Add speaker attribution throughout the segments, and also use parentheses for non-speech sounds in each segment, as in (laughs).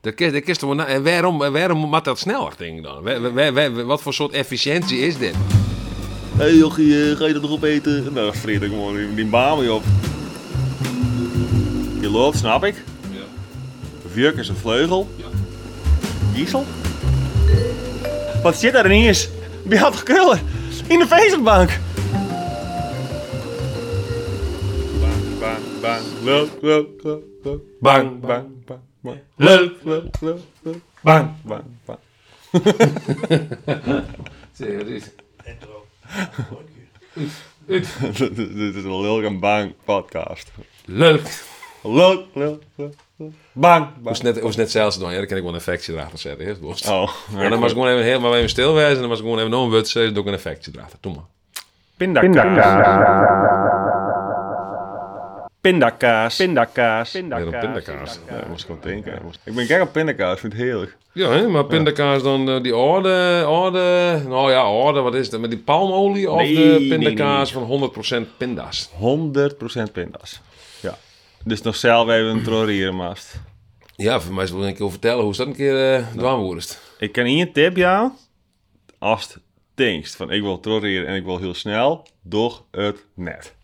Speaker 1: De kist, de kist, en waarom, waarom moet dat sneller, denk ik dan? Wa- wa- wa- wat voor soort efficiëntie is dit?
Speaker 2: Hé hey, jochie, eh, ga je dat nog opeten? Nou, dat vreet ik gewoon die, die baan mee op. Je loopt, snap ik. Vurk is een vleugel.
Speaker 1: Ja.
Speaker 2: Diesel? Wat zit daar ineens? Bij had Kruller. In de Facebookbank. Bang, bang, bang. Loop, loop, loop, loop. Bang, bang, bang, bang. Loop, loop, loop, loop. Bang, bang, bang. dit, (laughs) dit is een lulk en bang podcast.
Speaker 1: Leuk.
Speaker 2: Loop, loop, loop, loop. Bang,
Speaker 1: Hoe is
Speaker 2: bang.
Speaker 1: net, hoe is net zelfs doen? Ja, dan kan ik wel een effectje erachter zetten. Eerst borst.
Speaker 2: Oh,
Speaker 1: En dan was ik gewoon even helemaal even stilwijzen. En dan was ik gewoon even nog een wut zeggen. Dan doe ik een effectje erachter. Doe maar.
Speaker 2: Pindakaas. Pindakaas. Pindakaas.
Speaker 1: Weer een
Speaker 2: Pindakaas.
Speaker 1: pindakaas.
Speaker 2: Ja, moest ik gewoon denken. Ik ben gek op pindakaas, vind het heerlijk.
Speaker 1: Ja, hè? maar pindakaas dan eh, die orde, orde, nou ja, orde, wat is dat? Met die palmolie of
Speaker 2: Nee,
Speaker 1: de
Speaker 2: nee,
Speaker 1: pindakaas van 100% pinda's?
Speaker 2: 100% pindas. Ja. Dus nog zelf even een trorierenmast.
Speaker 1: Ja, voor mij is het wel een keer over vertellen hoe is dat een keer eh dwaanwoordest.
Speaker 2: Ik kan hier een tip jou. Als het denkt van ik wil troreren en ik wil heel snel, doch het net.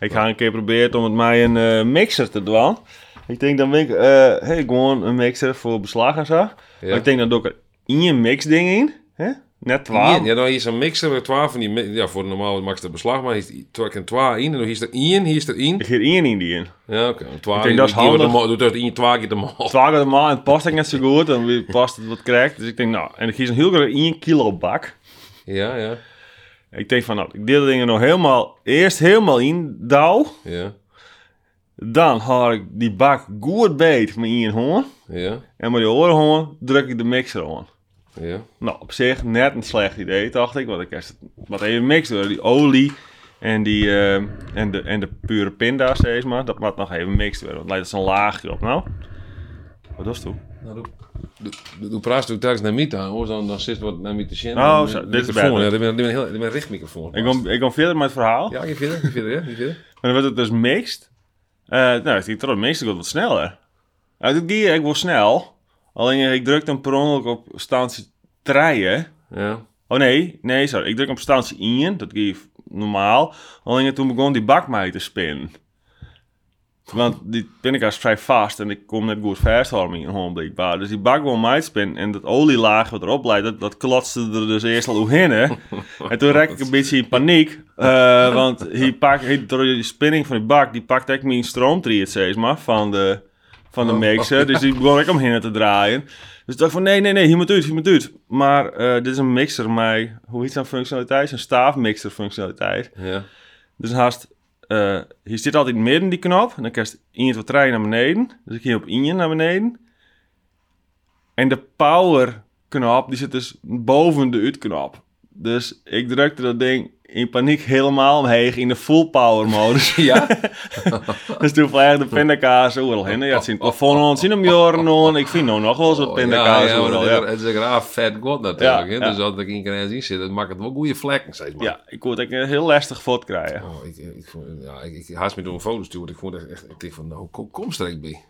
Speaker 2: Ik ga een keer proberen om met mij een eh, mixer te doen. Ik denk dan ben ik, eh hey, gewoon een mixer voor beslag en zo. Maar ik denk dan doe ik er één mixding in. Hè? Net twaalf.
Speaker 1: Ja, dan hier is een mixer met 12 van die, mi- ja, voor de normaal max de beslag, maar hier is twee keer 12 in en dan hier is er 1, hier is er 1.
Speaker 2: Ik geef één in die in.
Speaker 1: Ja, oké. Okay. 12
Speaker 2: Ik denk dat is handig.
Speaker 1: Doet dat 1 12 keer de
Speaker 2: (laughs)
Speaker 1: maal.
Speaker 2: Twaalf keer normaal en het past ook net zo goed. En wie past het wat krijgt. Dus ik denk nou, en ik geef een heel groot 1 kilo bak.
Speaker 1: Ja, ja,
Speaker 2: Ik denk van nou, ik deel de dingen nog helemaal, eerst helemaal in, douw.
Speaker 1: ja,
Speaker 2: Dan haal ik die bak goed beet met één hoorn.
Speaker 1: ja,
Speaker 2: En met die andere hoorn druk ik de mixer aan.
Speaker 1: ja.
Speaker 2: Nou, op zich net een slecht idee, dacht ik. Want ik heb wat even mixen door die olie en, die, eh, en, de, en de pure pinda's, zeg maar. Dat moet nog even mixen worden. Want lijkt dat zo'n laagje op. Nou, wat was toe?
Speaker 1: Nou, doe, doe, doe, doe praat natuurlijk telkens naar Mita, hoor. Dan, dan zit wat naar Mita Shen.
Speaker 2: Oh, zo, dit is
Speaker 1: microfoon.
Speaker 2: beter.
Speaker 1: Ja, dit ben- dit ben een heel- dit ben een richtmicrofoon.
Speaker 2: Ik kom, ik kom verder met het verhaal.
Speaker 1: Ja, je verder, je verder, ja, je
Speaker 2: (laughs)
Speaker 1: verder.
Speaker 2: Maar dan werd het dus mixed. Eh nou, ik trok meestal wat sneller. Uit het gear, ik wil snel. Alleen eh, ik drukte hem per ongeluk op staantie treien.
Speaker 1: Ja.
Speaker 2: Oh nee, nee, sorry. Ik druk op staantie in, dat geef normaal. Alleen toen begon die bak mij te spinnen. Want die pindakaas is vrij vast en ik kom net goed vasthouden in een blijkbaar. Dus die bak wil mij te spinnen en dat olielaag wat erop leidt, dat, dat klotste er dus eerst al doorheen. hè. en toen raak ik een beetje in paniek, eh, want hij pakt, hij, door die spinning van die bak, die pakt echt mijn stroomtriet, zeg maar, van de, van de mixer. Dus die begon ik om heen te draaien. Dus ik dacht van, nee, nee, nee, hier moet uit, hier moet uit. Maar eh, dit is een mixer, maar hoe heet zo'n functionaliteit? Een staafmixer functionaliteit.
Speaker 1: Ja.
Speaker 2: Dus haast, eh hier zit altijd midden die knop. En dan kan je in het wat trein naar beneden. Dus ik hier op in naar beneden. En de power knop, die zit dus boven de uitknop. Dus ik drukte dat ding in paniek helemaal omheen in de full power modus. (laughs)
Speaker 1: Ja?
Speaker 2: dus toen vlieg de pindakaas overal heen. Ja, het zien het plafond aan, het zien hem joren aan. Ik vind nou nog wel eens wat pindakaas
Speaker 1: Oh, ja, maar dat
Speaker 2: overal.
Speaker 1: is
Speaker 2: ja.
Speaker 1: er- het is een raar vet god natuurlijk.
Speaker 2: Ja,
Speaker 1: hè.
Speaker 2: ja.
Speaker 1: Dus als ik in kan zien zit, dat maakt het wel goede vlekken steeds maar.
Speaker 2: Ja, ik word echt een heel lastig fout krijgen.
Speaker 1: Oh, ik, ik, vond- ja, ik, ik haast me door een foto sturen. Ik vond echt, echt ik dacht van, nou, kom, kom straks bij.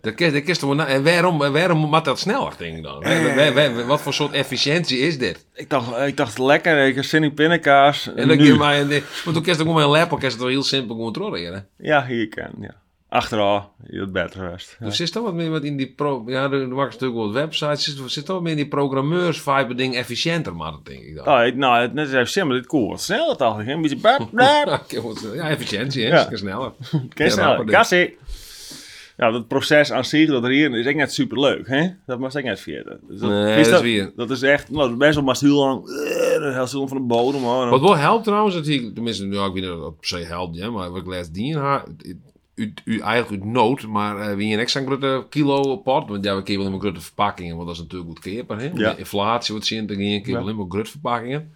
Speaker 1: Dat kist, dat kist toch wel na- en waarom, en waarom moet dat sneller, denk ik dan? Waar- waar- waar- wat voor soort efficiëntie is dit?
Speaker 2: Ik dacht, ik dacht lekker, ik heb zin in pindakaas.
Speaker 1: En dan
Speaker 2: nu.
Speaker 1: kun je maar, in de- want toen kist ik om mijn laptop, kist het wel heel simpel controleren.
Speaker 2: Ja, hier kan. Ja. Achteraf, heel beter rest. Ja.
Speaker 1: Dus zit toch wat meer wat in die, pro, ja, er maakt natuurlijk wel websites, zit, zit toch wat meer in die programmeurs-vibe ding efficiënter, maar dat denk ik dan.
Speaker 2: Oh, ik- nou, het net is even simpel, dit cool. Wat snel dacht ik. hè? Een beetje bap, bap.
Speaker 1: (laughs) (laughs) Ja, ja, efficiëntie, hè?
Speaker 2: Ja.
Speaker 1: Is een sneller.
Speaker 2: Kees
Speaker 1: Ja,
Speaker 2: snel.
Speaker 1: rapper dus.
Speaker 2: Kassie. Ja, dat proces aan zich, dat er hier is echt net super leuk, hè? Dat mag ik net vergeten. Dus
Speaker 1: Nee,
Speaker 2: is
Speaker 1: dat is weer-
Speaker 2: Dat is echt, nou, dat is best wel maar heel lang, eh, dat is heel lang van de bodem, hoor.
Speaker 1: Wat wel helpt trouwens, dat hij, tenminste, nou, ik weet niet of dat per se helpt, hè, maar wat ik laatst dien haar, u, u eigenlijk uit nood, maar eh wie een extra grote kilo pot, want ja, we kiezen wel in een grote verpakkingen, want dat is natuurlijk goed keerbaar, hè?
Speaker 2: Ja.
Speaker 1: Inflatie wordt zien, dan keer wel in een grote verpakkingen.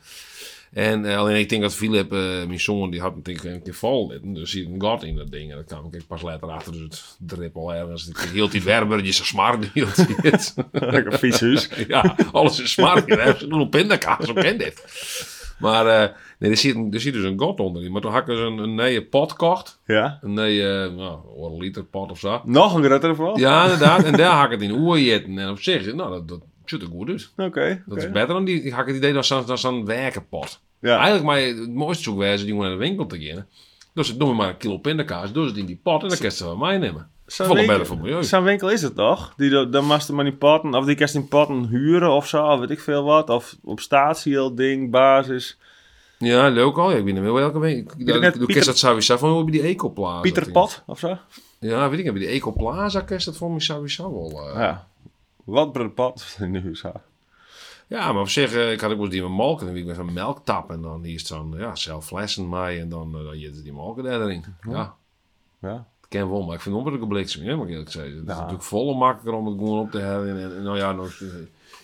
Speaker 1: En eh, alleen ik denk dat Philip, eh, mijn zoon, die had natuurlijk een keer vol zitten. Dus hij had een gat in dat ding. En dat kwam ik pas later achter. Dus het drip al ergens. Ik hield die werber, die is smart. (laughs) Die hield het.
Speaker 2: (laughs) Lekker vies huis.
Speaker 1: (laughs) Ja, alles is smaak. Ze doen op pindakaas, zo ken dit. Maar eh, nee, er zit, een- er zit dus een gat onder. Maar toen had ik dus een, een nieuwe pot gekocht.
Speaker 2: Ja.
Speaker 1: Een nieuwe, nou, een liter pot of zo.
Speaker 2: Nog een grotere vooral?
Speaker 1: Ja, inderdaad. En daar had ik het in oerjetten. En op zich, nou, dat, dat ziet er goed uit.
Speaker 2: Oké.
Speaker 1: Dat
Speaker 2: oké.
Speaker 1: is beter dan die, ik had het idee dat zo'n dat zo'n werkenpot.
Speaker 2: Ja.
Speaker 1: Eigenlijk maar het mooiste zoekwijze die gewoon naar de winkel te gaan. Dus doe me maar een kilo pindakaas, doe het in die pot en dan kun je ze van mij nemen.
Speaker 2: Zo'n
Speaker 1: Volle
Speaker 2: winkel-
Speaker 1: beter voor milieu.
Speaker 2: Zo'n winkel is het toch? Die, dat- dan mag je maar die potten, of die kerst in potten huren of zo, of weet ik veel wat. Of op statie heel ding, basis.
Speaker 1: Ja, leuk al. Ja, ik ben er wel elke week. Ik-
Speaker 2: net
Speaker 1: dat- Doe
Speaker 2: Pieter-
Speaker 1: kerst dat sowieso van hoe heb je die Ecoplaza?
Speaker 2: Pieter
Speaker 1: ding?
Speaker 2: Pot of zo?
Speaker 1: Ja, weet ik heb je die Ecoplaza kerst dat voor me sowieso wel. eh.
Speaker 2: Ja. Wat Pieter Pot (laughs) in de USA.
Speaker 1: Ja, maar op zich, eh, ik had ook wel eens die met melk en dan weer zo'n melktap en dan hier is zo'n ja, zelf flessen mee en dan, eh, dan je die melk erin. Ja.
Speaker 2: Ja.
Speaker 1: Ik ken wel, maar ik vind het onbrukkelijk bliksem, hè, moet ik eerlijk zeggen. Het
Speaker 2: Ja.
Speaker 1: is natuurlijk volle makkelijker om het gewoon op te hebben. En, en nou ja, nou, is- eh,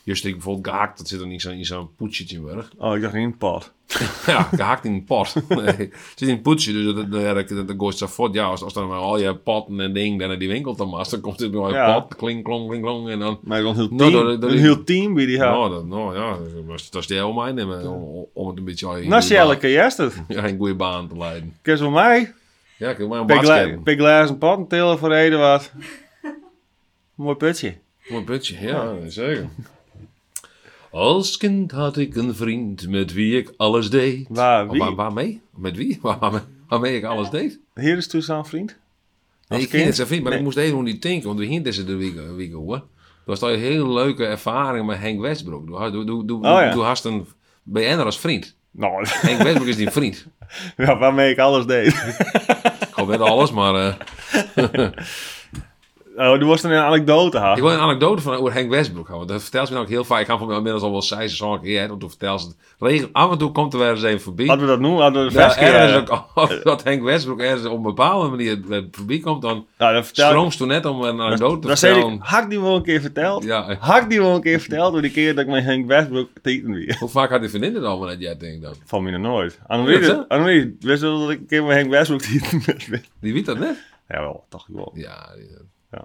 Speaker 1: juist ik bijvoorbeeld gehakt, dat zit dan in zo'n in zo'n poetsje weg.
Speaker 2: Oh, ik dacht in pot.
Speaker 1: (laughs) ja, gehakt in een pot. (laughs) Nee, het zit in een poetsje, dus dat, dat, dat, dat, dat gooit zo voort. Ja, als, als dan maar al je potten en ding dan naar die winkel dan maar, dan komt het nog een
Speaker 2: Ja.
Speaker 1: pot, kling, klong, kling, klong, en dan...
Speaker 2: Maar een heel team,
Speaker 1: Nou, dat- dat-
Speaker 2: een heel team bij die haar.
Speaker 1: Nou, dat, nou ja, dat was- dat is de heel mijn nemen, om, om het een beetje... aan je
Speaker 2: Nou,
Speaker 1: goede baan-
Speaker 2: Sjelleke, juist
Speaker 1: (laughs)
Speaker 2: het.
Speaker 1: Ja, een goede baan te leiden.
Speaker 2: Kerst van mij.
Speaker 1: Ja, ik heb maar een
Speaker 2: Pik
Speaker 1: baas
Speaker 2: gla-
Speaker 1: hebben.
Speaker 2: pik glazen en pot en tillen voor reden wat. Mooi putje.
Speaker 1: Mooi putje, ja, zeker. Als kind had ik een vriend met wie ik alles deed.
Speaker 2: Waar, wie?
Speaker 1: Of waar- waarmee? Met wie? Waar, waar- waarmee ik alles deed?
Speaker 2: Hier is toestaan, vriend.
Speaker 1: Nee, ik
Speaker 2: kind?
Speaker 1: ken het zo vriend, maar
Speaker 2: Nee.
Speaker 1: ik moest even niet denken, want we gingen deze de week, week hoor. Toen was al een hele leuke ervaring met Henk Westbroek. Doe, doe, doe, doe,
Speaker 2: Oh, ja.
Speaker 1: doe hast een BN'er als vriend.
Speaker 2: Nou, (laughs)
Speaker 1: Henk Westbroek is die vriend.
Speaker 2: ja, waarmee ik alles deed. (laughs)
Speaker 1: Ik hoop net alles, maar eh,
Speaker 2: Oh, er was dan een anekdote, ha.
Speaker 1: ik wil een anekdote van over Henk Westbroek houden. Dat vertelt ze me ook heel vaak. Ik ga van mij inmiddels al wel zei ze zo'n keer, hè, want toen vertelt ze het. Regel, af en toe komt er wel eens even voorbij.
Speaker 2: Hadden we dat nu? Hadden we de
Speaker 1: Ja,
Speaker 2: versie? eh,
Speaker 1: ergens ook, als (laughs) dat Henk Westbroek ergens op een bepaalde manier bij het publiek komt, dan
Speaker 2: nou, dat vertel ik.
Speaker 1: stroomst toen net om een anekdote te
Speaker 2: Dat zei ik,
Speaker 1: vertellen.
Speaker 2: had ik die wel een keer verteld?
Speaker 1: Ja. eh,
Speaker 2: Had ik die wel een keer verteld door die keer dat ik met Henk Westbroek teten weer? (laughs)
Speaker 1: Hoe vaak had die vriendin het allemaal net jij denkt dan?
Speaker 2: Van mij nog nooit. Annemarie,
Speaker 1: Ja, zo.
Speaker 2: Annemarie, wist je wel dat ik een keer met Henk Westbroek (laughs) teten
Speaker 1: Die weet dat net?
Speaker 2: Ja, wel, dacht ik wel.
Speaker 1: Ja. die- eh.
Speaker 2: Ja.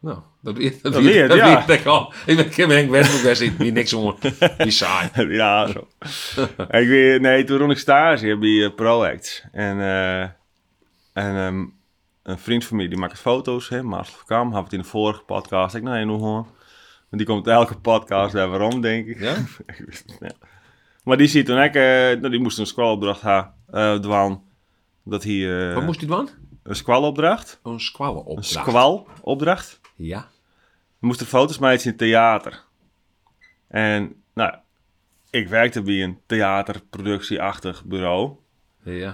Speaker 1: Nou, dat weet dat
Speaker 2: Dat
Speaker 1: weet-
Speaker 2: weet,
Speaker 1: dat
Speaker 2: ja.
Speaker 1: weet ik al. Ik ben Kim Henk Westbroek, daar zit hier niks om. Die saai.
Speaker 2: (laughs) ja, zo. ik weet, nee, toen rond ik stage hier bij eh, ProAct. En, eh, en ehm, een vriend van mij die maakt foto's, hè, Marcel van Kam, had het in de vorige podcast. Ik, nee, nog hoor. Want die komt elke podcast daar waarom, denk ik. (laughs)
Speaker 1: Ja?
Speaker 2: Ik wist het, ja. Maar die ziet toen ik, eh, nou, die moest een squalopdracht ha, eh dwan. Dat hij, eh,
Speaker 1: Wat moest hij doen?
Speaker 2: een squalopdracht,
Speaker 1: Een squallen op.
Speaker 2: een squalopdracht.
Speaker 1: Ja.
Speaker 2: We moesten foto's maken in het theater. En nou, ik werkte bij een theaterproductieachtig bureau.
Speaker 1: Ja.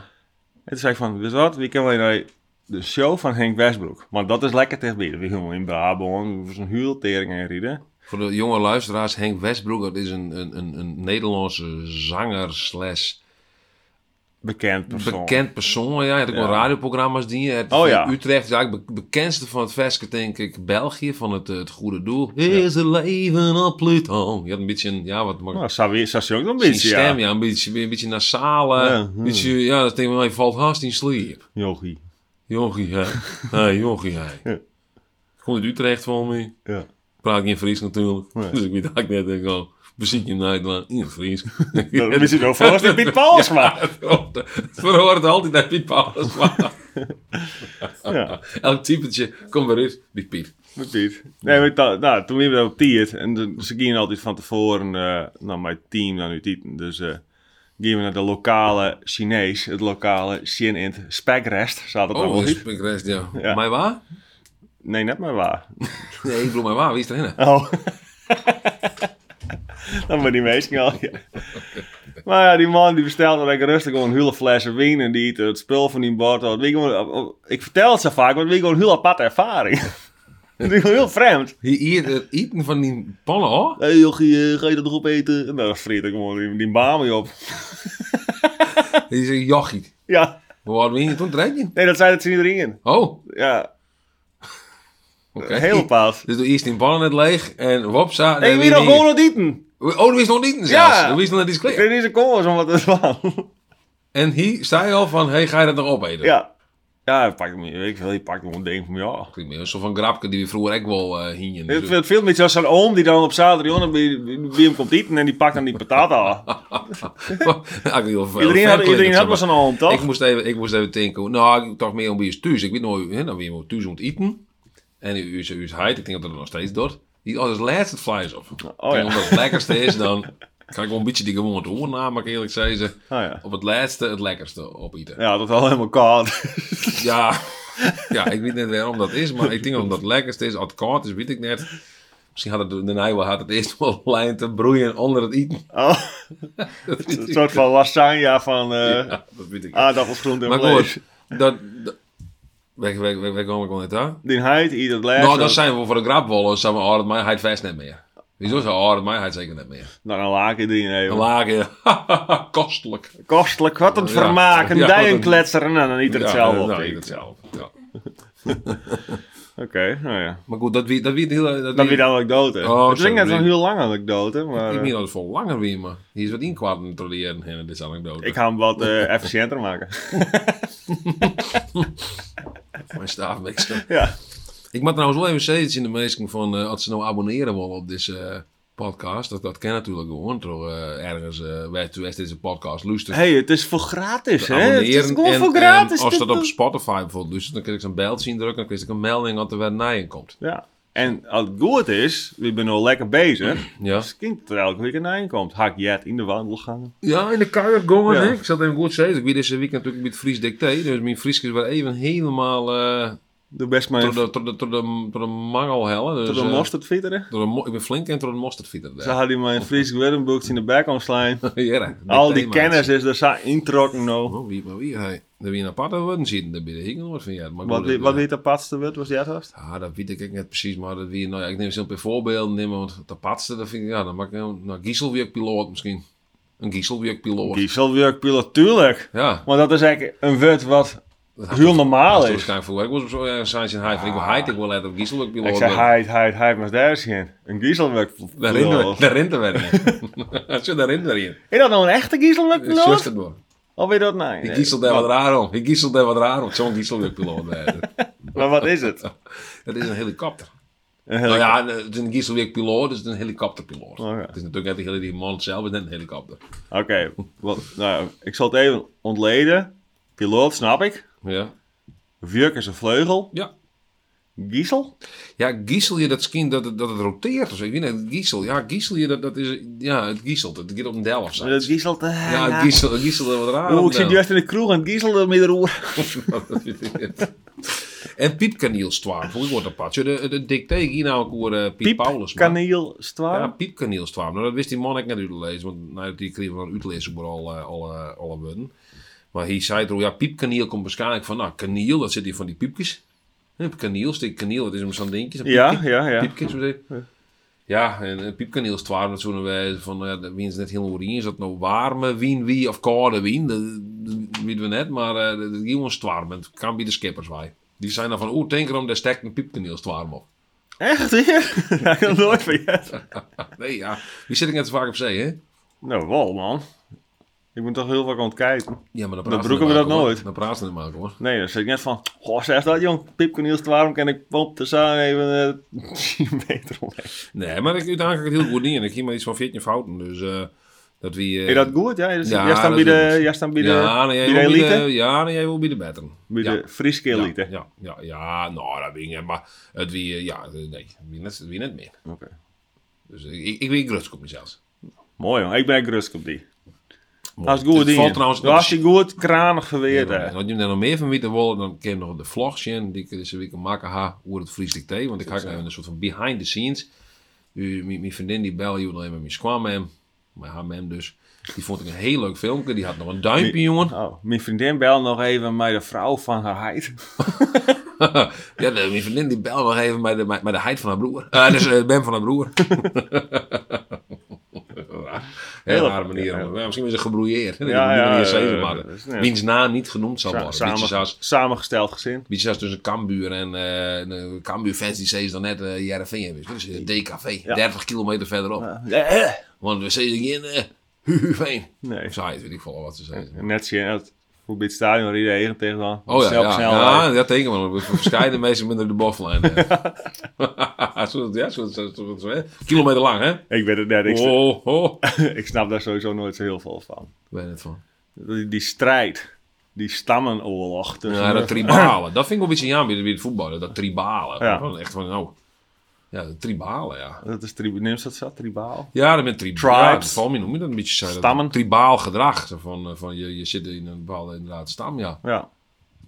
Speaker 2: En toen zei ik van, weet je wat, wie kan wel naar de show van Henk Westbroek. Want dat is lekker dichtbij. We gingen in Brabant, er was een huurtering en rieden.
Speaker 1: Voor de jonge luisteraars, Henk Westbroek, dat is een, een, een, een Nederlandse zanger slash
Speaker 2: Bekend persoon.
Speaker 1: Bekend persoon, ja. Hij had ook wel radioprogramma's die je
Speaker 2: Oh, ja.
Speaker 1: Utrecht is eigenlijk be- bekendste van het Veske, denk ik, België, van het, eh, het goede doel. Is het leven op Pluto? Je had een beetje, een- ja, wat mag
Speaker 2: Nou, Savi- Sassi ook nog een
Speaker 1: Zijn
Speaker 2: beetje,
Speaker 1: stem,
Speaker 2: ja.
Speaker 1: ja. Een beetje, een beetje nasale.
Speaker 2: Ja, hmm.
Speaker 1: Ja,
Speaker 2: ja.
Speaker 1: beetje, ja, dat denk ik, hij valt haast in sleep.
Speaker 2: Jochie.
Speaker 1: Jochie,
Speaker 2: (laughs)
Speaker 1: hè. hey, jochie, hè.
Speaker 2: Ja.
Speaker 1: Komt uit Utrecht voor me.
Speaker 2: Ja.
Speaker 1: Praat geen Fries natuurlijk.
Speaker 2: Nee.
Speaker 1: Dus ik weet eigenlijk net, denk ik al, beziet je hem niet, maar in het
Speaker 2: (laughs)
Speaker 1: Fries.
Speaker 2: Dat
Speaker 1: (laughs)
Speaker 2: is misschien wel volgens de Piet Paulsma.
Speaker 1: Het verhoort altijd naar Piet (laughs) Paulusma.
Speaker 2: Ja,
Speaker 1: Elk typetje komt eruit, die Piet.
Speaker 2: met Piet. Nee, maar dat- nou, toen liepen we op Tiert. En de- ze gingen altijd van tevoren, eh nou, mijn team dan nu Tieten. Dus eh gingen we naar de lokale Chinees. Het lokale Xin in het Spekrest. Zat het dan wel
Speaker 1: Oh,
Speaker 2: niet?
Speaker 1: Spinkrest, ja.
Speaker 2: Ja.
Speaker 1: Mij waar?
Speaker 2: Nee, net maar waar.
Speaker 1: Nee, ik bedoel mij waar. Wie is erin?
Speaker 2: Oh. (laughs) Dan ben die meesting al. ja. Maar ja, die man die bestelde lekker rustig gewoon een hele fles wijn en die eet het spul van die bord. Dat weet Ik, gewoon- ik vertel het zo vaak, maar het is gewoon een heel aparte ervaring. (laughs) Het is gewoon heel vreemd.
Speaker 1: Hier, hier het eten van die pannen, hoor.
Speaker 2: Hé hey, jochie, eh, ga je dat nog opeten? En dan vreet ik gewoon die, die baan mee op.
Speaker 1: Die is een jochie.
Speaker 2: Ja,
Speaker 1: Hoe hadden we hier toen trek je?
Speaker 2: nee, dat zei dat ze niet erin.
Speaker 1: Oh,
Speaker 2: Ja,
Speaker 1: oké.
Speaker 2: Eh, heel bepaald.
Speaker 1: Dus doe eerst die pannen net leeg en wopsa.
Speaker 2: Ik
Speaker 1: dan
Speaker 2: wil
Speaker 1: weer
Speaker 2: nog
Speaker 1: die-
Speaker 2: gewoon het eten.
Speaker 1: Oh, er is nog niet in zelfs.
Speaker 2: Ja.
Speaker 1: Er is nog net iets klaar.
Speaker 2: Dit is een koos om wat het was.
Speaker 1: En hier sta je al van, hey, ga je dat nog opeten?
Speaker 2: (laughs) Ja. Ja, hij pakt hem, ik wil, hij pakt hem een ding van ja.
Speaker 1: Klinkt meer zo van grapje die we vroeger ook wel eh hingen. (laughs)
Speaker 2: Het het veel meer zoals zo'n oom die dan op zaterdagmorgen bij, bij hem komt eten en die pakt dan die patata. (laughs)
Speaker 1: Ah,
Speaker 2: Iedereen had, iedereen had
Speaker 1: E
Speaker 2: wel zo'n oom, toch?
Speaker 1: Ik moest, even, ik moest even denken, nou, ik dacht meer om bij je thuis. Ik weet nooit, hè, dan weer om thuis om het eten. En u is u heid, ik denk dat dat nog steeds doet. Die als laatste het vlees op.
Speaker 2: Oh
Speaker 1: En
Speaker 2: ja.
Speaker 1: omdat het lekkerste is, dan krijg ik wel een beetje die gewoonte oornaam, maar ik eerlijk zeggen.
Speaker 2: Oh ja.
Speaker 1: Op het laatste het lekkerste opeten.
Speaker 2: Ja, dat is wel helemaal koud.
Speaker 1: Ja. ja, ik weet niet waarom dat is, maar ik denk omdat het lekkerste is. Als het koud is, weet ik net. Misschien had het de Nijwe had het eerst wel (laughs) lijn te broeien onder het eten.
Speaker 2: (laughs)
Speaker 1: (laughs)
Speaker 2: Oh, een soort van lasagne van eh
Speaker 1: Ja, dat weet ik niet.
Speaker 2: aardappels, groente en
Speaker 1: Maar
Speaker 2: vlees.
Speaker 1: goed, dat... dat weg, weg, weg, weg, kom ik wel net aan.
Speaker 2: Die heid, ieder het
Speaker 1: Nou, dan
Speaker 2: laatste.
Speaker 1: zijn we voor de grapwollen, zijn we oh, dat mij hij het vast net meer. Wieso zo, oh, dat mij hij het zeker net meer.
Speaker 2: Dan een laken erin
Speaker 1: Een
Speaker 2: even.
Speaker 1: laagje, (laughs) kostelijk.
Speaker 2: Kostelijk, wat een
Speaker 1: Ja.
Speaker 2: vermaak. Een
Speaker 1: Ja, wat een-
Speaker 2: dijenkletser en dan niet hetzelfde
Speaker 1: Ja,
Speaker 2: op.
Speaker 1: nou,
Speaker 2: eten.
Speaker 1: hetzelfde. Ja.
Speaker 2: Oké, nou ja.
Speaker 1: Maar goed, dat wie dat wie heel... Dat
Speaker 2: Dan
Speaker 1: wie-
Speaker 2: weer de anekdote.
Speaker 1: Oh,
Speaker 2: het is
Speaker 1: sorry.
Speaker 2: net een heel lange anekdote, maar
Speaker 1: Ik
Speaker 2: eh,
Speaker 1: weet niet of het voor langer weer, maar hier is wat inkwart in te leren en het is anekdote.
Speaker 2: ik ga hem wat
Speaker 1: (laughs)
Speaker 2: eh, efficiënter maken.
Speaker 1: Mijn staafmixer.
Speaker 2: ja.
Speaker 1: Ik moet trouwens wel even zeggen iets in de meesting van eh, als ze nou abonneren willen op deze eh, podcast, dat, dat kan natuurlijk gewoon. Toch, eh, ergens, eh wij wij deze podcast luisteren.
Speaker 2: hey, het is voor gratis, hè? Het is
Speaker 1: abonneren.
Speaker 2: gewoon
Speaker 1: en,
Speaker 2: voor
Speaker 1: en
Speaker 2: gratis.
Speaker 1: als
Speaker 2: dit-
Speaker 1: dat op Spotify bijvoorbeeld luistert, dan kan ik zo'n beltje indrukken. Dan krijg ik een melding dat er weer naar komt.
Speaker 2: (laughs) Ja. En als het goed is, we zijn al lekker bezig.
Speaker 1: (clears throat) Ja.
Speaker 2: Dus het kind er elke week een eind komt. Hak jet in de wandelgangen.
Speaker 1: Ja, in de kuier gongen.
Speaker 2: Ja.
Speaker 1: hè. Ik zat even goed zeggen. Ik ben deze week natuurlijk met Fries dicté. Dus mijn Fries is weer even helemaal eh
Speaker 2: Doe best maar
Speaker 1: door
Speaker 2: even
Speaker 1: de, door de, door de, door de mangel hellen. Dus,
Speaker 2: tot de
Speaker 1: eh,
Speaker 2: mosterd vitteren.
Speaker 1: door de mo- ik ben flink en door de mosterdfieter.
Speaker 2: Ze
Speaker 1: daar.
Speaker 2: hadden mijn Fries Weddenboekje in de back online.
Speaker 1: (laughs) Ja, dicté,
Speaker 2: Al die
Speaker 1: maat.
Speaker 2: kennis is er zo introkken nou.
Speaker 1: Oh, wie, maar wie, hij, daar wie een aparte worden zitten, daar ben ik nooit van ja. Maar
Speaker 2: Wat
Speaker 1: goed,
Speaker 2: weet
Speaker 1: dat-
Speaker 2: wat weet de patste word, was jij vast?
Speaker 1: Ja, dat weet ik ook net precies, maar dat wie, nou ja, ik neem zo'n paar voorbeelden, nemen, want de patste, dat vind ik, ja, dan maak ik een nou, gieselwerkpiloot misschien. Een gieselwerkpiloot.
Speaker 2: Dieselwerkpiloot, tuurlijk.
Speaker 1: ja.
Speaker 2: Want dat is eigenlijk een woord wat
Speaker 1: Dat had-
Speaker 2: heel normaal
Speaker 1: dat is
Speaker 2: is. Ah.
Speaker 1: waarschijnlijk voor. Ik was op zo'n eh, science in high, ik wil heid, ik wil laten op gieselwerkpiloot.
Speaker 2: Ik zei
Speaker 1: worden.
Speaker 2: heid, heid, heid, maar daar is geen. Een dieselwerkpiloot.
Speaker 1: Daar rent er- daar rent er weer in. (laughs) Zo, daar rent er weer in.
Speaker 2: Is dat nou een echte
Speaker 1: Ik zucht
Speaker 2: dieselwerkpiloot?
Speaker 1: het door.
Speaker 2: Of weet dat nou?
Speaker 1: Ik giesel daar wat raar om. Ik giesel daar wat raar om. Zo'n gieselwerkpiloot. (laughs) eh,
Speaker 2: Maar wat is het?
Speaker 1: Dat
Speaker 2: (laughs)
Speaker 1: is een helikopter.
Speaker 2: Een
Speaker 1: Nou
Speaker 2: hele-
Speaker 1: ja, het is een gieselwerkpiloot, het is een helikopterpiloot.
Speaker 2: Oh ja.
Speaker 1: Het is natuurlijk net die hele die man zelf is net een helikopter.
Speaker 2: Oké, wat- nou, ik zal het even ontleden. Piloot, snap ik.
Speaker 1: Ja.
Speaker 2: Wurk is een vleugel.
Speaker 1: Ja.
Speaker 2: Giesel?
Speaker 1: Ja, giesel je dat skin dat het, dat het roteert of zo. Ik weet niet, giesel. Ja, giesel je dat, dat is... Ja, het gieselt. Het gaat op een del of zo.
Speaker 2: Dat giesel te...
Speaker 1: Ja, het giesel, het giesel dat wat raar.
Speaker 2: Oeh,
Speaker 1: op nou. een
Speaker 2: ik zit
Speaker 1: del. (laughs)
Speaker 2: juist in de kroeg en het giesel eh, met de roer.
Speaker 1: Dat weet ik niet. en piepkaneelstwaar. Voor ik word apart. Zo, De, de dicté hier nou ook over eh, Piet Paulus. man.
Speaker 2: kaneel, stwaar.
Speaker 1: Ja, piepkaneelstwaar. Nou, dat wist die man ik net uit te lezen. Want nou, die kreeg van uitlezen over eh, alle, alle, alle woorden. Maar hij zei toch, ja, piepkaneel komt waarschijnlijk van... Nou, kaneel, dat zit hier van die piepjes. Hè, Kaneel, stik kaneel, dat is hem zo'n dingetje. zo'n
Speaker 2: ja,
Speaker 1: piepje.
Speaker 2: ja, ja.
Speaker 1: Piepkes, hoe zeg je? Ja, en eh, piepkaneel is het waar, dat zo'n wij van, ja, dat wien is net heel oranje. Is dat nou warme wien, wie of koude wien? Dat, dat weten we net, maar eh, dat is gewoon zwaar. Het kan bij de skippers wij. Die zijn dan van, oeh, denk erom, daar steekt een piepkaneel zwaar op. (laughs)
Speaker 2: Echt (laughs) weer? Dat heb ik nog nooit vergeten.
Speaker 1: Nee, ja. Die zit ik net zo vaak op zee, hè?
Speaker 2: Nou, wel man. Ik moet toch heel vaak aan het kijken.
Speaker 1: Ja, maar dan
Speaker 2: Dan
Speaker 1: praten
Speaker 2: broeken we
Speaker 1: maar
Speaker 2: dat
Speaker 1: over.
Speaker 2: nooit.
Speaker 1: Dan praten we er maar over, hoor.
Speaker 2: Nee, dan zit ik net van... Goh, zeg dat jong. Pip Cornel waarom kan ik pomp te staan even eh, (laughs) 10 meter omheen.
Speaker 1: Nee, maar ik uiteindelijk het heel goed niet. En ik ging maar iets van 14 fouten, dus eh, dat wie... eh,
Speaker 2: Is dat goed? Ja, dus,
Speaker 1: Ja,
Speaker 2: jij staat
Speaker 1: dat
Speaker 2: bij
Speaker 1: is
Speaker 2: de,
Speaker 1: goed.
Speaker 2: jij staat bij de,
Speaker 1: ja, nee, jij
Speaker 2: bij de
Speaker 1: wil bij de-
Speaker 2: elite.
Speaker 1: Ja, nee, jij wil bij de better.
Speaker 2: Bij
Speaker 1: eh, Ja.
Speaker 2: de Friese elite.
Speaker 1: Ja, ja, ja, ja, nou, dat weet ik niet. Maar het wie, eh, ja, eh, nee, wie net, wie net meer.
Speaker 2: Oké.
Speaker 1: Dus eh, ik, ik weet gerust op mezelf.
Speaker 2: Mooi jongen, ik ben gerust op die.
Speaker 1: Mooi.
Speaker 2: Als goed
Speaker 1: Dit
Speaker 2: die.
Speaker 1: valt trouwens nog
Speaker 2: Als je goed kranig verweerd
Speaker 1: En
Speaker 2: hè.
Speaker 1: als je er nog meer van weten wil, dan ken je nog de vlog zien die ik deze week maken ha over het Fries Dicté. Want ik had een soort van behind the scenes. U, mijn, mijn vriendin die bel je alleen met mijn squamem, mijn HMM dus. Die vond ik een heel leuk filmpje. Die had nog een duimpje, jongen. (laughs)
Speaker 2: Oh, mijn vriendin belt nog even met de vrouw van haar heid.
Speaker 1: ja, de, mijn vriendin die bel nog even bij de, bij, bij de heid van haar broer. Eh, dus eh, Ben van haar
Speaker 2: (laughs)
Speaker 1: broer. Heel
Speaker 2: Heel
Speaker 1: rare
Speaker 2: apart,
Speaker 1: manier.
Speaker 2: ja.
Speaker 1: om- ja, misschien is ze gebrouilleerd. hè, dat
Speaker 2: Ja,
Speaker 1: je op die
Speaker 2: ja,
Speaker 1: manier
Speaker 2: ja,
Speaker 1: zeven
Speaker 2: ja,
Speaker 1: maakt.
Speaker 2: dat is net-
Speaker 1: Wiens naam niet genoemd zal worden. Beetje
Speaker 2: Samen,
Speaker 1: zoals,
Speaker 2: samengesteld gezin.
Speaker 1: beetje zoals tussen dus Cambuur en eh Cambuur fans die zeiden dan net eh Jereveen hebben. Dat is eh, DKV. 30 kilometer verderop.
Speaker 2: Eh,
Speaker 1: Want we zeiden geen eh Huveen.
Speaker 2: Nee.
Speaker 1: Saai, weet ik veel wat ze zeiden.
Speaker 2: Net zien, dat Voor bij het stadion rieden regen tegen dan.
Speaker 1: Oh ja,
Speaker 2: snel,
Speaker 1: ja.
Speaker 2: snel. eh.
Speaker 1: ja dat teken wel. We
Speaker 2: (laughs)
Speaker 1: verscheiden mensen minder de bovenlijn. hè. zo, ja, zo, zo, zo, zo, hè. Kilometer lang, hè?
Speaker 2: Ik weet het net. Ik,
Speaker 1: Oh, oh. Ik
Speaker 2: (laughs) ik snap daar sowieso nooit zo heel veel van.
Speaker 1: weet het van.
Speaker 2: Die, die strijd. Die stammenoorlog. Tussen
Speaker 1: Ja, dat tribale. Dat vind ik wel een beetje jammer bij het- bij het voetballen. Dat tribale.
Speaker 2: Ja.
Speaker 1: Gewoon Echt van, nou... Ja, dat tribale, ja.
Speaker 2: dat is tribu- Neemt dat zo? Tribaal?
Speaker 1: Ja, dat met tri
Speaker 2: Tribes.
Speaker 1: Ja, dat valt me noem je dat een beetje. Zei dat
Speaker 2: Stammen.
Speaker 1: Tribaal gedrag. Zo Van, eh, van je, je zit in een bepaalde inderdaad, stam, ja.
Speaker 2: Ja.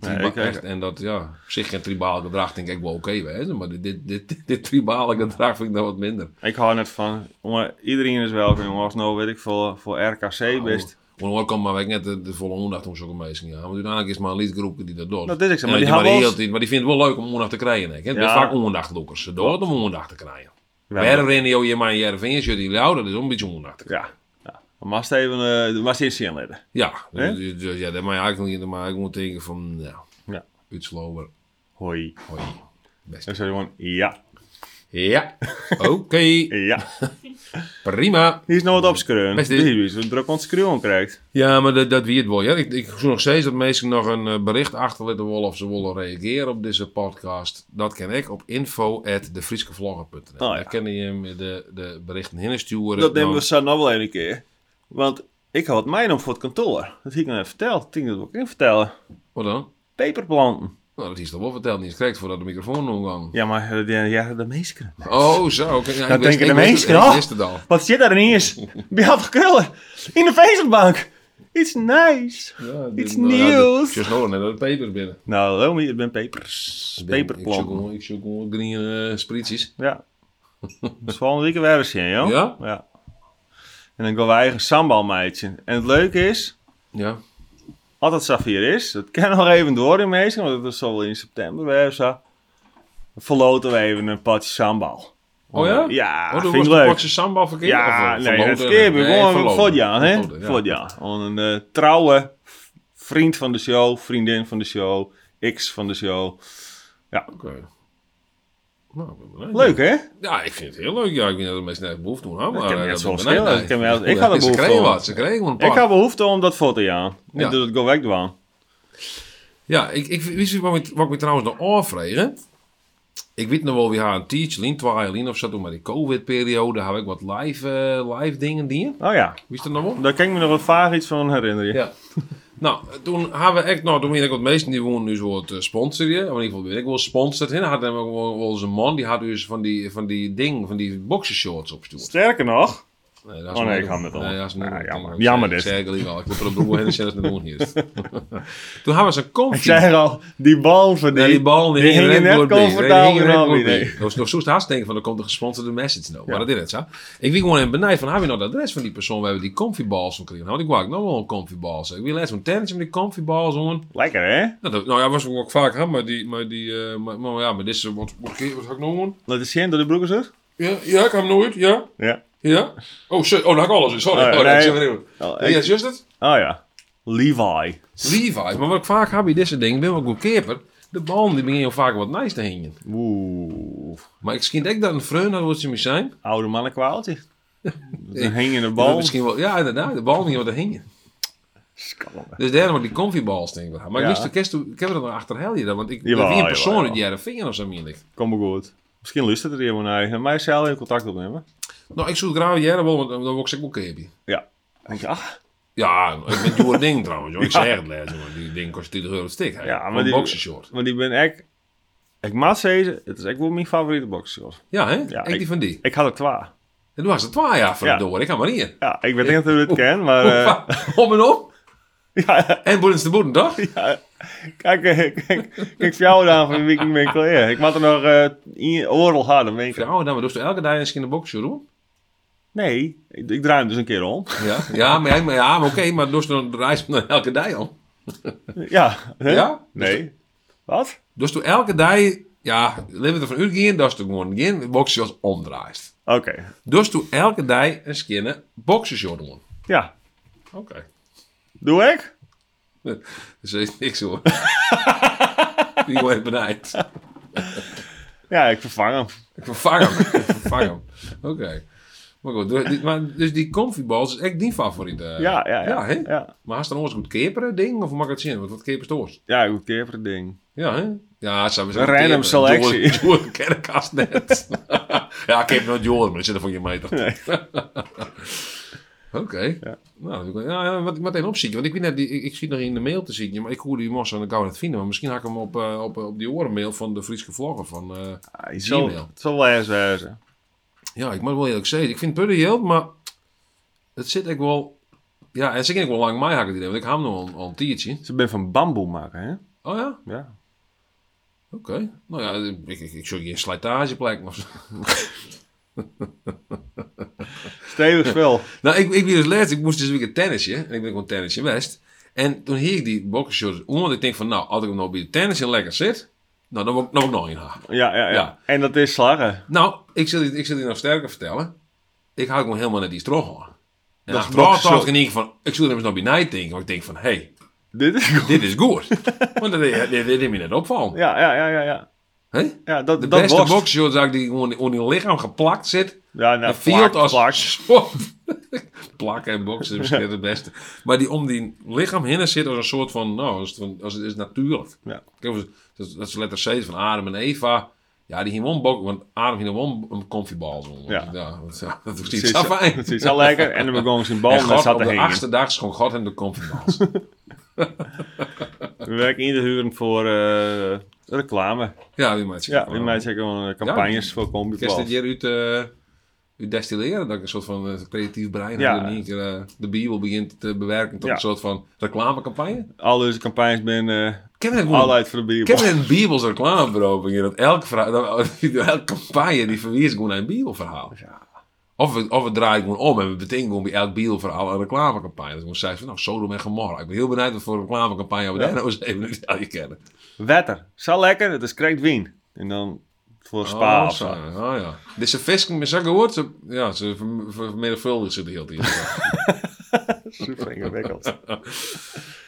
Speaker 1: Triba-
Speaker 2: Nee, ik-
Speaker 1: echt, en dat, ja, op zich geen tribaal gedrag denk ik wel oké bij, maar dit, dit, dit, dit tribale gedrag vind ik dan wat minder.
Speaker 2: Ik hou net van, jongen, iedereen is welkom, jongen. Als nou, weet ik veel, voor
Speaker 1: Oh.
Speaker 2: RKC best.
Speaker 1: Want hoor komt maar weet ik net de, de volle aandacht om zulke mensen gaan. Want uiteindelijk is het maar een liedgroepje die dat doet.
Speaker 2: Dat is ik zo, maar
Speaker 1: En
Speaker 2: die
Speaker 1: weet je,
Speaker 2: hebben
Speaker 1: heel
Speaker 2: wel-
Speaker 1: tijd- maar die vindt het wel leuk om aandacht te krijgen. Hè? Het zijn
Speaker 2: Ja.
Speaker 1: vaak aandachtloekers. Ze doen het om aandacht te krijgen.
Speaker 2: Ja,
Speaker 1: Wij rennen jou hier maar in Jervin, je die jou, dat is ook een beetje aandacht te krijgen.
Speaker 2: Ja. ja. Dan mag je even, eh, dan mag je eens zien letten.
Speaker 1: Ja,
Speaker 2: Hè?
Speaker 1: dus, dus ja, daar moet je eigenlijk niet, daar moet je eigenlijk moet denken van, nou,
Speaker 2: Ja.
Speaker 1: iets slower.
Speaker 2: Hoi.
Speaker 1: Hoi. Best.
Speaker 2: Dan zeg je gewoon, ja,
Speaker 1: Ja, (laughs) oké,
Speaker 2: ja.
Speaker 1: prima.
Speaker 2: Hier is nou wat opskreun.
Speaker 1: Best
Speaker 2: Best
Speaker 1: is-
Speaker 2: is. We druk ons skreun krijgt.
Speaker 1: Ja, maar dat, dat wie het wel. Ja, ik, ik zoek nog steeds dat mensen nog een eh, bericht achterlaten willen of ze willen reageren op deze podcast. Dat kan ik op info@devrieskevlogger.nl.
Speaker 2: Oh, ja.
Speaker 1: Daar kan je hem de, de berichten heen sturen.
Speaker 2: Dat nemen we
Speaker 1: Nou,
Speaker 2: zo nog wel een keer. Want ik had mijn om voor het kantoor. Dat heb ik nog even verteld. Dat heb ik dat ook in vertellen.
Speaker 1: Wat dan?
Speaker 2: Peperplanten.
Speaker 1: Nou, dat is toch wel verteld. Niet correct voordat de microfoon omgang.
Speaker 2: Ja, maar eh, die- ja, de meeste krullen.
Speaker 1: Oh, zo. oké. Ja,
Speaker 2: Dat
Speaker 1: wist-
Speaker 2: Nou, denken de
Speaker 1: wist
Speaker 2: meesten,
Speaker 1: het- Ik
Speaker 2: hoor.
Speaker 1: wist het
Speaker 2: (laughs)
Speaker 1: al.
Speaker 2: Wat zit daar ineens?
Speaker 1: (laughs)
Speaker 2: Bij had krullen. In de Facebookbank. It's nice.
Speaker 1: Ja,
Speaker 2: Iets
Speaker 1: dit- nou ja, dit-
Speaker 2: nieuws.
Speaker 1: Je hoort net dat het paper binnen.
Speaker 2: Nou, hallo, hier, ik ben pepers.
Speaker 1: Ik ben- Ik zoek
Speaker 2: Peperplanten.
Speaker 1: gewoon- ik zoek gewoon green eh, sprietjes. (laughs)
Speaker 2: Ja. Dat is volgende week weer eens in, joh.
Speaker 1: Ja?
Speaker 2: Ja. En dan gaan we eigen sambalmeidje. En het leuke is,
Speaker 1: Ja.
Speaker 2: als het safir is, dat kan nog even door in meestal, want dat is zo wel in september weer of zo. Verloten we even een potje sambal.
Speaker 1: Oh ja?
Speaker 2: Ja,
Speaker 1: oh,
Speaker 2: vind ik
Speaker 1: een
Speaker 2: leuk.
Speaker 1: potje sambal verkeerd?
Speaker 2: Ja,
Speaker 1: Of, eh,
Speaker 2: nee,
Speaker 1: verloten?
Speaker 2: dat verkeerd.
Speaker 1: Nee,
Speaker 2: Gewoon
Speaker 1: verloten.
Speaker 2: voor jaar, hè?
Speaker 1: Verloten, ja.
Speaker 2: Voor jaar. Een eh, trouwe vriend van de show, vriendin van de show, ex van de show.
Speaker 1: Oké. Nou, ik ben blij.
Speaker 2: Leuk, hè?
Speaker 1: Ja, ik vind het heel leuk. Ja, ik vind dat de mensen nergens behoefte aan hebben.
Speaker 2: Dat kan
Speaker 1: maar,
Speaker 2: me net
Speaker 1: eh,
Speaker 2: zo
Speaker 1: dat- nee,
Speaker 2: schelen.
Speaker 1: nee.
Speaker 2: Dat kan me wel- ik
Speaker 1: Ja,
Speaker 2: had er
Speaker 1: Ze
Speaker 2: behoefte
Speaker 1: kregen
Speaker 2: aan.
Speaker 1: wat, ze kregen gewoon een
Speaker 2: Ik
Speaker 1: paar.
Speaker 2: heb behoefte om dat voor te gaan. Ik
Speaker 1: Ja.
Speaker 2: doe het go weg doen.
Speaker 1: Ja, ik, ik wist je wat, ik- wat ik me trouwens nog afvregen. Ik weet nog wel, we hadden een teacher, twee jaar geleden of zo, toen met die COVID-periode, had ik wat live, eh, live dingen die.
Speaker 2: Oh ja,
Speaker 1: Wist je dat nog wel?
Speaker 2: daar kan ik me nog wel vaag iets van herinneren.
Speaker 1: Ja. Nou, toen hadden we echt, nou, toen weet ik wat meesten die wonen nu soort eh, sponsoren, of in ieder geval weet ik wel sponsored. En hadden we ook wel wel eens een man die had dus van die, van die ding, van die boxershorts opstuurd.
Speaker 2: Sterker nog,
Speaker 1: Nee, dat
Speaker 2: Oh, nee,
Speaker 1: niet
Speaker 2: ik
Speaker 1: doen.
Speaker 2: had het al.
Speaker 1: Nee, dat is niet
Speaker 2: Ja,
Speaker 1: doen.
Speaker 2: Ah, jammer.
Speaker 1: Ik
Speaker 2: Jammer
Speaker 1: zei-
Speaker 2: dit.
Speaker 1: Ik zei het al, ik moet er een broer heen en zelfs naar hier.
Speaker 2: (laughs)
Speaker 1: Toen hadden ze een
Speaker 2: ik
Speaker 1: confie.
Speaker 2: zei al, die bal van die,
Speaker 1: Nee, die bal die
Speaker 2: die
Speaker 1: hing
Speaker 2: hingen
Speaker 1: er net
Speaker 2: net
Speaker 1: door bij. Nee, die hing
Speaker 2: comfortabel
Speaker 1: er net
Speaker 2: in
Speaker 1: door
Speaker 2: nee,
Speaker 1: bij. Dat was nog zo'n haast denken van, er komt een gesponsorde message nou. Maar dat is het, zo. Ik wie gewoon even benijd van, heb je nog het adres van die persoon waar we die comfy balls van kregen? Nou, want ik wou ook nog wel een comfy balls. Ik wil eens zo'n tennis met die comfy balls on.
Speaker 2: Lekker, hè?
Speaker 1: Nou, dat, nou ja, was ook vaak, hè, maar die, maar die, eh, maar, maar ja, maar dit is, eh, wat, wat, wat, wat had ik nog doen?
Speaker 2: Dat is geen door de broekers, hoor.
Speaker 1: Ja, ja, ik heb hem nooit, ja,
Speaker 2: Ja.
Speaker 1: ja. Oh, sorry, oh, daar had ik alles in, sorry.
Speaker 2: Oh,
Speaker 1: Oh,
Speaker 2: ja,
Speaker 1: nee,
Speaker 2: nee.
Speaker 1: ik zeg maar even.
Speaker 2: Oh,
Speaker 1: Ja,
Speaker 2: ik-
Speaker 1: is juist het?
Speaker 2: oh ja, Levi.
Speaker 1: Levi's, maar wat ik vaak heb bij deze dingen, ben ik ook een keeper. De bal die begint heel vaak wat nice te hingen.
Speaker 2: Oeh,
Speaker 1: Maar ik schiet echt dat een vreun dat wordt ze me zijn.
Speaker 2: oude (laughs) mannenkwaaltje. Een hingende
Speaker 1: Ja,
Speaker 2: bal.
Speaker 1: Misschien wel, ja, inderdaad. De bal niet wat er hingen.
Speaker 2: Skamme.
Speaker 1: Dus daarom die comfyballs denk ik wel. Maar
Speaker 2: Ja.
Speaker 1: ik wist de kerst, ik heb er nog achter hel je dan. Want ik
Speaker 2: Jawel,
Speaker 1: ben een
Speaker 2: jawel,
Speaker 1: persoon uit
Speaker 2: jawel.
Speaker 1: die jaren vinger of zo meen ik.
Speaker 2: Kom maar goed. Misschien lust het er iemand naar. En mij zelf in contact opnemen.
Speaker 1: Nou, ik zoek graag jaren wel, want dan word ik zeker ook keeper.
Speaker 2: Ja. Ja,
Speaker 1: Ja, ik ben door ding trouwens.
Speaker 2: (laughs)
Speaker 1: Joh. Ik zeg het les, maar die ding kost 20 euro stik.
Speaker 2: ja
Speaker 1: Ja,
Speaker 2: maar,
Speaker 1: een
Speaker 2: die,
Speaker 1: boxershort.
Speaker 2: maar die ben echt... Ik maat zeggen, het is echt wel mijn favoriete boxershort.
Speaker 1: Ja, hè?
Speaker 2: Ja,
Speaker 1: ik,
Speaker 2: ik-
Speaker 1: die van die.
Speaker 2: Ik had er twee.
Speaker 1: En toen was het twaalf jaar van
Speaker 2: Ja.
Speaker 1: door. Ik ga maar hier.
Speaker 2: Ja, ik weet niet hoe (laughs) het ken, maar... eh,
Speaker 1: Om en om.
Speaker 2: (laughs) ja,
Speaker 1: En boedens de boeden, toch?
Speaker 2: (laughs) ja. Kijk, eh, kijk, kijk voor jou dan van wie ik ben klaar. Ik maak er nog eh in oorlog harder mee.
Speaker 1: Ja, dan maar dus elke dag eens in de boxer doen.
Speaker 2: Nee, ik, ik draai hem dus een keer om.
Speaker 1: Ja, ja, maar, ja, maar, ja, maar oké, maar dus dan reis (laughs) je dan elke dag om.
Speaker 2: Ja. hè?
Speaker 1: Ja?
Speaker 2: Nee. Wat?
Speaker 1: Dus toen elke dag, ja, leven er van uur geen, dat is toen gewoon geen boxershorts omdraait.
Speaker 2: Oké.
Speaker 1: Dus toen elke dag een skinne boxershort doen.
Speaker 2: Ja.
Speaker 1: Oké.
Speaker 2: Doe ik?
Speaker 1: Dus dat is niks
Speaker 2: (laughs)
Speaker 1: hoor. Die wordt benijd.
Speaker 2: Ja, ik vervang hem.
Speaker 1: Ik vervang hem. Ik vervang hem. Oké. Maar goed, dus die, maar, dus die comfybal is echt die favoriet. eh.
Speaker 2: Ja, ja, ja.
Speaker 1: hè?
Speaker 2: ja.
Speaker 1: Maar als dan ons goed keperen ding, of mag het zien? Want wat kepers toos?
Speaker 2: Ja, goed keer voor het ding.
Speaker 1: Ja, hè? Ja, ze hebben
Speaker 2: Een random
Speaker 1: (laughs)
Speaker 2: selectie.
Speaker 1: Door de kerkkast net. (laughs) ja, ik heb nooit Jordan, maar dat zit er van je meter.
Speaker 2: Nee.
Speaker 1: (laughs) Oké. Nou, ik- ja, ja, wat ik meteen opzie. Want ik, weet net, die- ik, ik zie nog in de mail te zien, maar ik hoorde die mos en ik kan het vinden. Maar misschien haak ik hem op, eh, op, op die orenmail van de Friese vlogger van... eh,
Speaker 2: Ah, je zal,
Speaker 1: Gmail.
Speaker 2: het zal wel eens wezen.
Speaker 1: Ja, ik moet wel eerlijk zeggen, ik vind het pudde heel, maar het zit ik wel. Ja, en ze kan ik wel lang mij hakken die want ik haal hem nog al, al een tiertje.
Speaker 2: Ze Dus ben van bamboe maken, hè?
Speaker 1: Oh ja,
Speaker 2: Ja.
Speaker 1: oké. Nou ja, ik, ik, ik zoek hier een slijtageplek. of zo. (laughs)
Speaker 2: (laughs) Stevig spel.
Speaker 1: nou, ik, ik ben dus laatst, ik moest dus weer een tennisje. En ik ben gewoon tennisje west. En toen hing ik die boxershorts om, want ik denk van, nou, als ik hem nou bij de tennisje lekker zit, nou, dan wil ik dan wil ik nog in haar.
Speaker 2: Ja, ja, ja,
Speaker 1: Ja.
Speaker 2: En dat is slagen.
Speaker 1: Nou, ik zal, je- ik zal je nog sterker vertellen. Ik hou gewoon helemaal net iets terug hoor. En dat
Speaker 2: Dat is
Speaker 1: achteraf
Speaker 2: boxer-
Speaker 1: dacht ik in ieder geval, ik zou er eens nog bij night denken. Want ik denk van, hé, hey,
Speaker 2: Dit (laughs) is goed.
Speaker 1: dit is goed. Want dat dit, dit, dit me net opvallen.
Speaker 2: Ja, ja, ja, ja. ja.
Speaker 1: hè?
Speaker 2: ja dat,
Speaker 1: De
Speaker 2: dat
Speaker 1: beste
Speaker 2: worst.
Speaker 1: boxshorts eigenlijk die gewoon onder je lichaam geplakt zit.
Speaker 2: Ja, nou,
Speaker 1: een field
Speaker 2: plak,
Speaker 1: als
Speaker 2: plak.
Speaker 1: soort- (laughs) Plakken en boksen is misschien het beste. Maar die om die lichaam heen zit als een soort van, nou, als het, van- als het is natuurlijk.
Speaker 2: Ja.
Speaker 1: Kijk, dat is- dat is letter C van Adam en Eva. Ja, die ging gewoon bokken, want Adam ging gewoon een comfiebal zonder.
Speaker 2: Ja.
Speaker 1: dat, ja, dat is
Speaker 2: Precies,
Speaker 1: niet zo fijn.
Speaker 2: (laughs) Precies, al lekker. En dan begon ze in bal
Speaker 1: En
Speaker 2: (laughs) en dat
Speaker 1: God,
Speaker 2: zat
Speaker 1: op
Speaker 2: te
Speaker 1: de
Speaker 2: heen.
Speaker 1: achtste dag schoon God hem de
Speaker 2: (laughs)
Speaker 1: comfiebals.
Speaker 2: We werken ieder huren voor eh, reclame.
Speaker 1: ja, wie maakt
Speaker 2: Ja, in mij zeggen gewoon eh, campagnes voor combi
Speaker 1: Kerst dit jaar uit, eh, uit destilleren, dat ik een soort van eh, creatief brein
Speaker 2: Ja.
Speaker 1: heb en in één keer eh, de Bijbel begint te bewerken tot
Speaker 2: Ja.
Speaker 1: een soort van reclamecampagne.
Speaker 2: Al deze campagnes ben eh
Speaker 1: Kennen we het
Speaker 2: altijd voor de
Speaker 1: Kennen
Speaker 2: Bijbel.
Speaker 1: we een Bijbels reclamebureau begint dat elke, verhaal- dat- (laughs) elke campagne die verweert gewoon naar een Bijbelverhaal. Of we, of we draaien gewoon om en we bedenken gewoon bij elk Bijbelverhaal een reclamecampagne. Dat is gewoon zei van nou Sodom en Gomorra. Ik ben heel benieuwd wat voor reclamecampagne we daar nou eens even niet aan je kennen.
Speaker 2: Wetter. Zo lekker, het is correct wien. En dan voor spa
Speaker 1: Oh,
Speaker 2: of
Speaker 1: zo.
Speaker 2: zo.
Speaker 1: Oh, ja. Dus ze visken met zo'n gehoord, ze, ja, ze verm- ver- vermenigvuldigen ze de hele tijd.
Speaker 2: Super ingewikkeld. Ik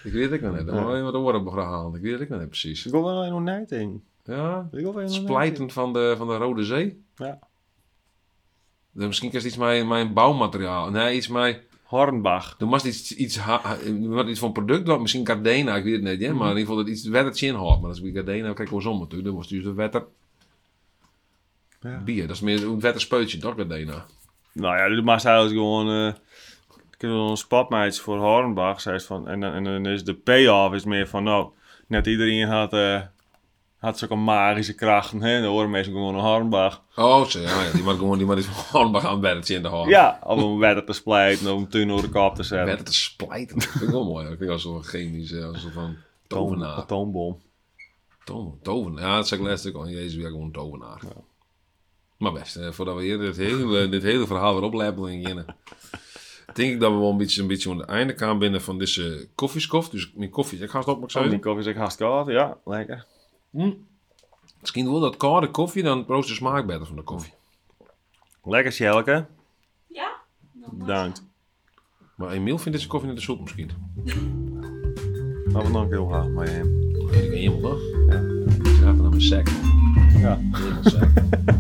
Speaker 1: Ik weet het ook nog net. Dan moet je wat oren begraven. Ik weet het ook nog net precies.
Speaker 2: wil wel een ontnijting.
Speaker 1: Ja.
Speaker 2: Ik wil wel een ontnijting.
Speaker 1: Splijten van de, van de Rode Zee.
Speaker 2: Ja.
Speaker 1: Dan misschien kan je iets met mijn bouwmateriaal. Nee, iets met...
Speaker 2: Hornbach.
Speaker 1: Dan was iets, iets, ha- ha- wat iets van product. wat Misschien Gardena, ik weet het niet. hè,
Speaker 2: Mhm.
Speaker 1: Maar in ieder geval dat iets wettertje in had. Maar als ik Gardena kijk was om natuurlijk. Dan was het dus een wetter...
Speaker 2: Ja.
Speaker 1: Bier. Dat is meer een wetter speutje, toch Gardena?
Speaker 2: Nou ja, dit maakt eigenlijk gewoon... eh ik heb wel een spatmeid voor Hornbach. Zei ze van, en, dan- en dan is de payoff is meer van... Nou, net iedereen had... eh had zulke magische krachten. Hè? De horen mensen gewoon een Hornbach.
Speaker 1: Oh, zo, ja, ja. Die moet gewoon, die moet (laughs) gewoon maar gaan wettertje in de hand.
Speaker 2: Ja, om een wetter te splijten. Om een tuin over de kop te zetten.
Speaker 1: Wetter te splijten. Dat vind ik wel mooi. Ik vind dat zo'n chemisch, eh, als een van
Speaker 2: Atoom-
Speaker 1: tovenaar.
Speaker 2: Atoombom.
Speaker 1: Tovenaar. tovenaar. Ja, dat zei ik laatst ook al. Jezus, weer gewoon een tovenaar. Maar best, eh, voordat we hier dit hele, dit hele verhaal weer opleppen in Jenna. Denk ik dat we wel een beetje, een beetje aan het einde gaan binnen van deze koffieskof. Dus mijn koffie, ik ga het op, maar ik zou
Speaker 2: Zo, die koffie is echt hartstikke koud. Ja, lekker.
Speaker 1: Misschien wel dat koude koffie, dan proost de smaak beter van de koffie.
Speaker 2: Lekker, Sjelke.
Speaker 3: Ja? Dan maar.
Speaker 2: Bedankt.
Speaker 1: Maar Emiel vindt deze koffie net de soep misschien.
Speaker 2: Af en toe ook heel graag met hem.
Speaker 1: Dat weet ik helemaal nog. Ja. Ik raak er nog een sec.
Speaker 2: Ja.
Speaker 1: Helemaal sec.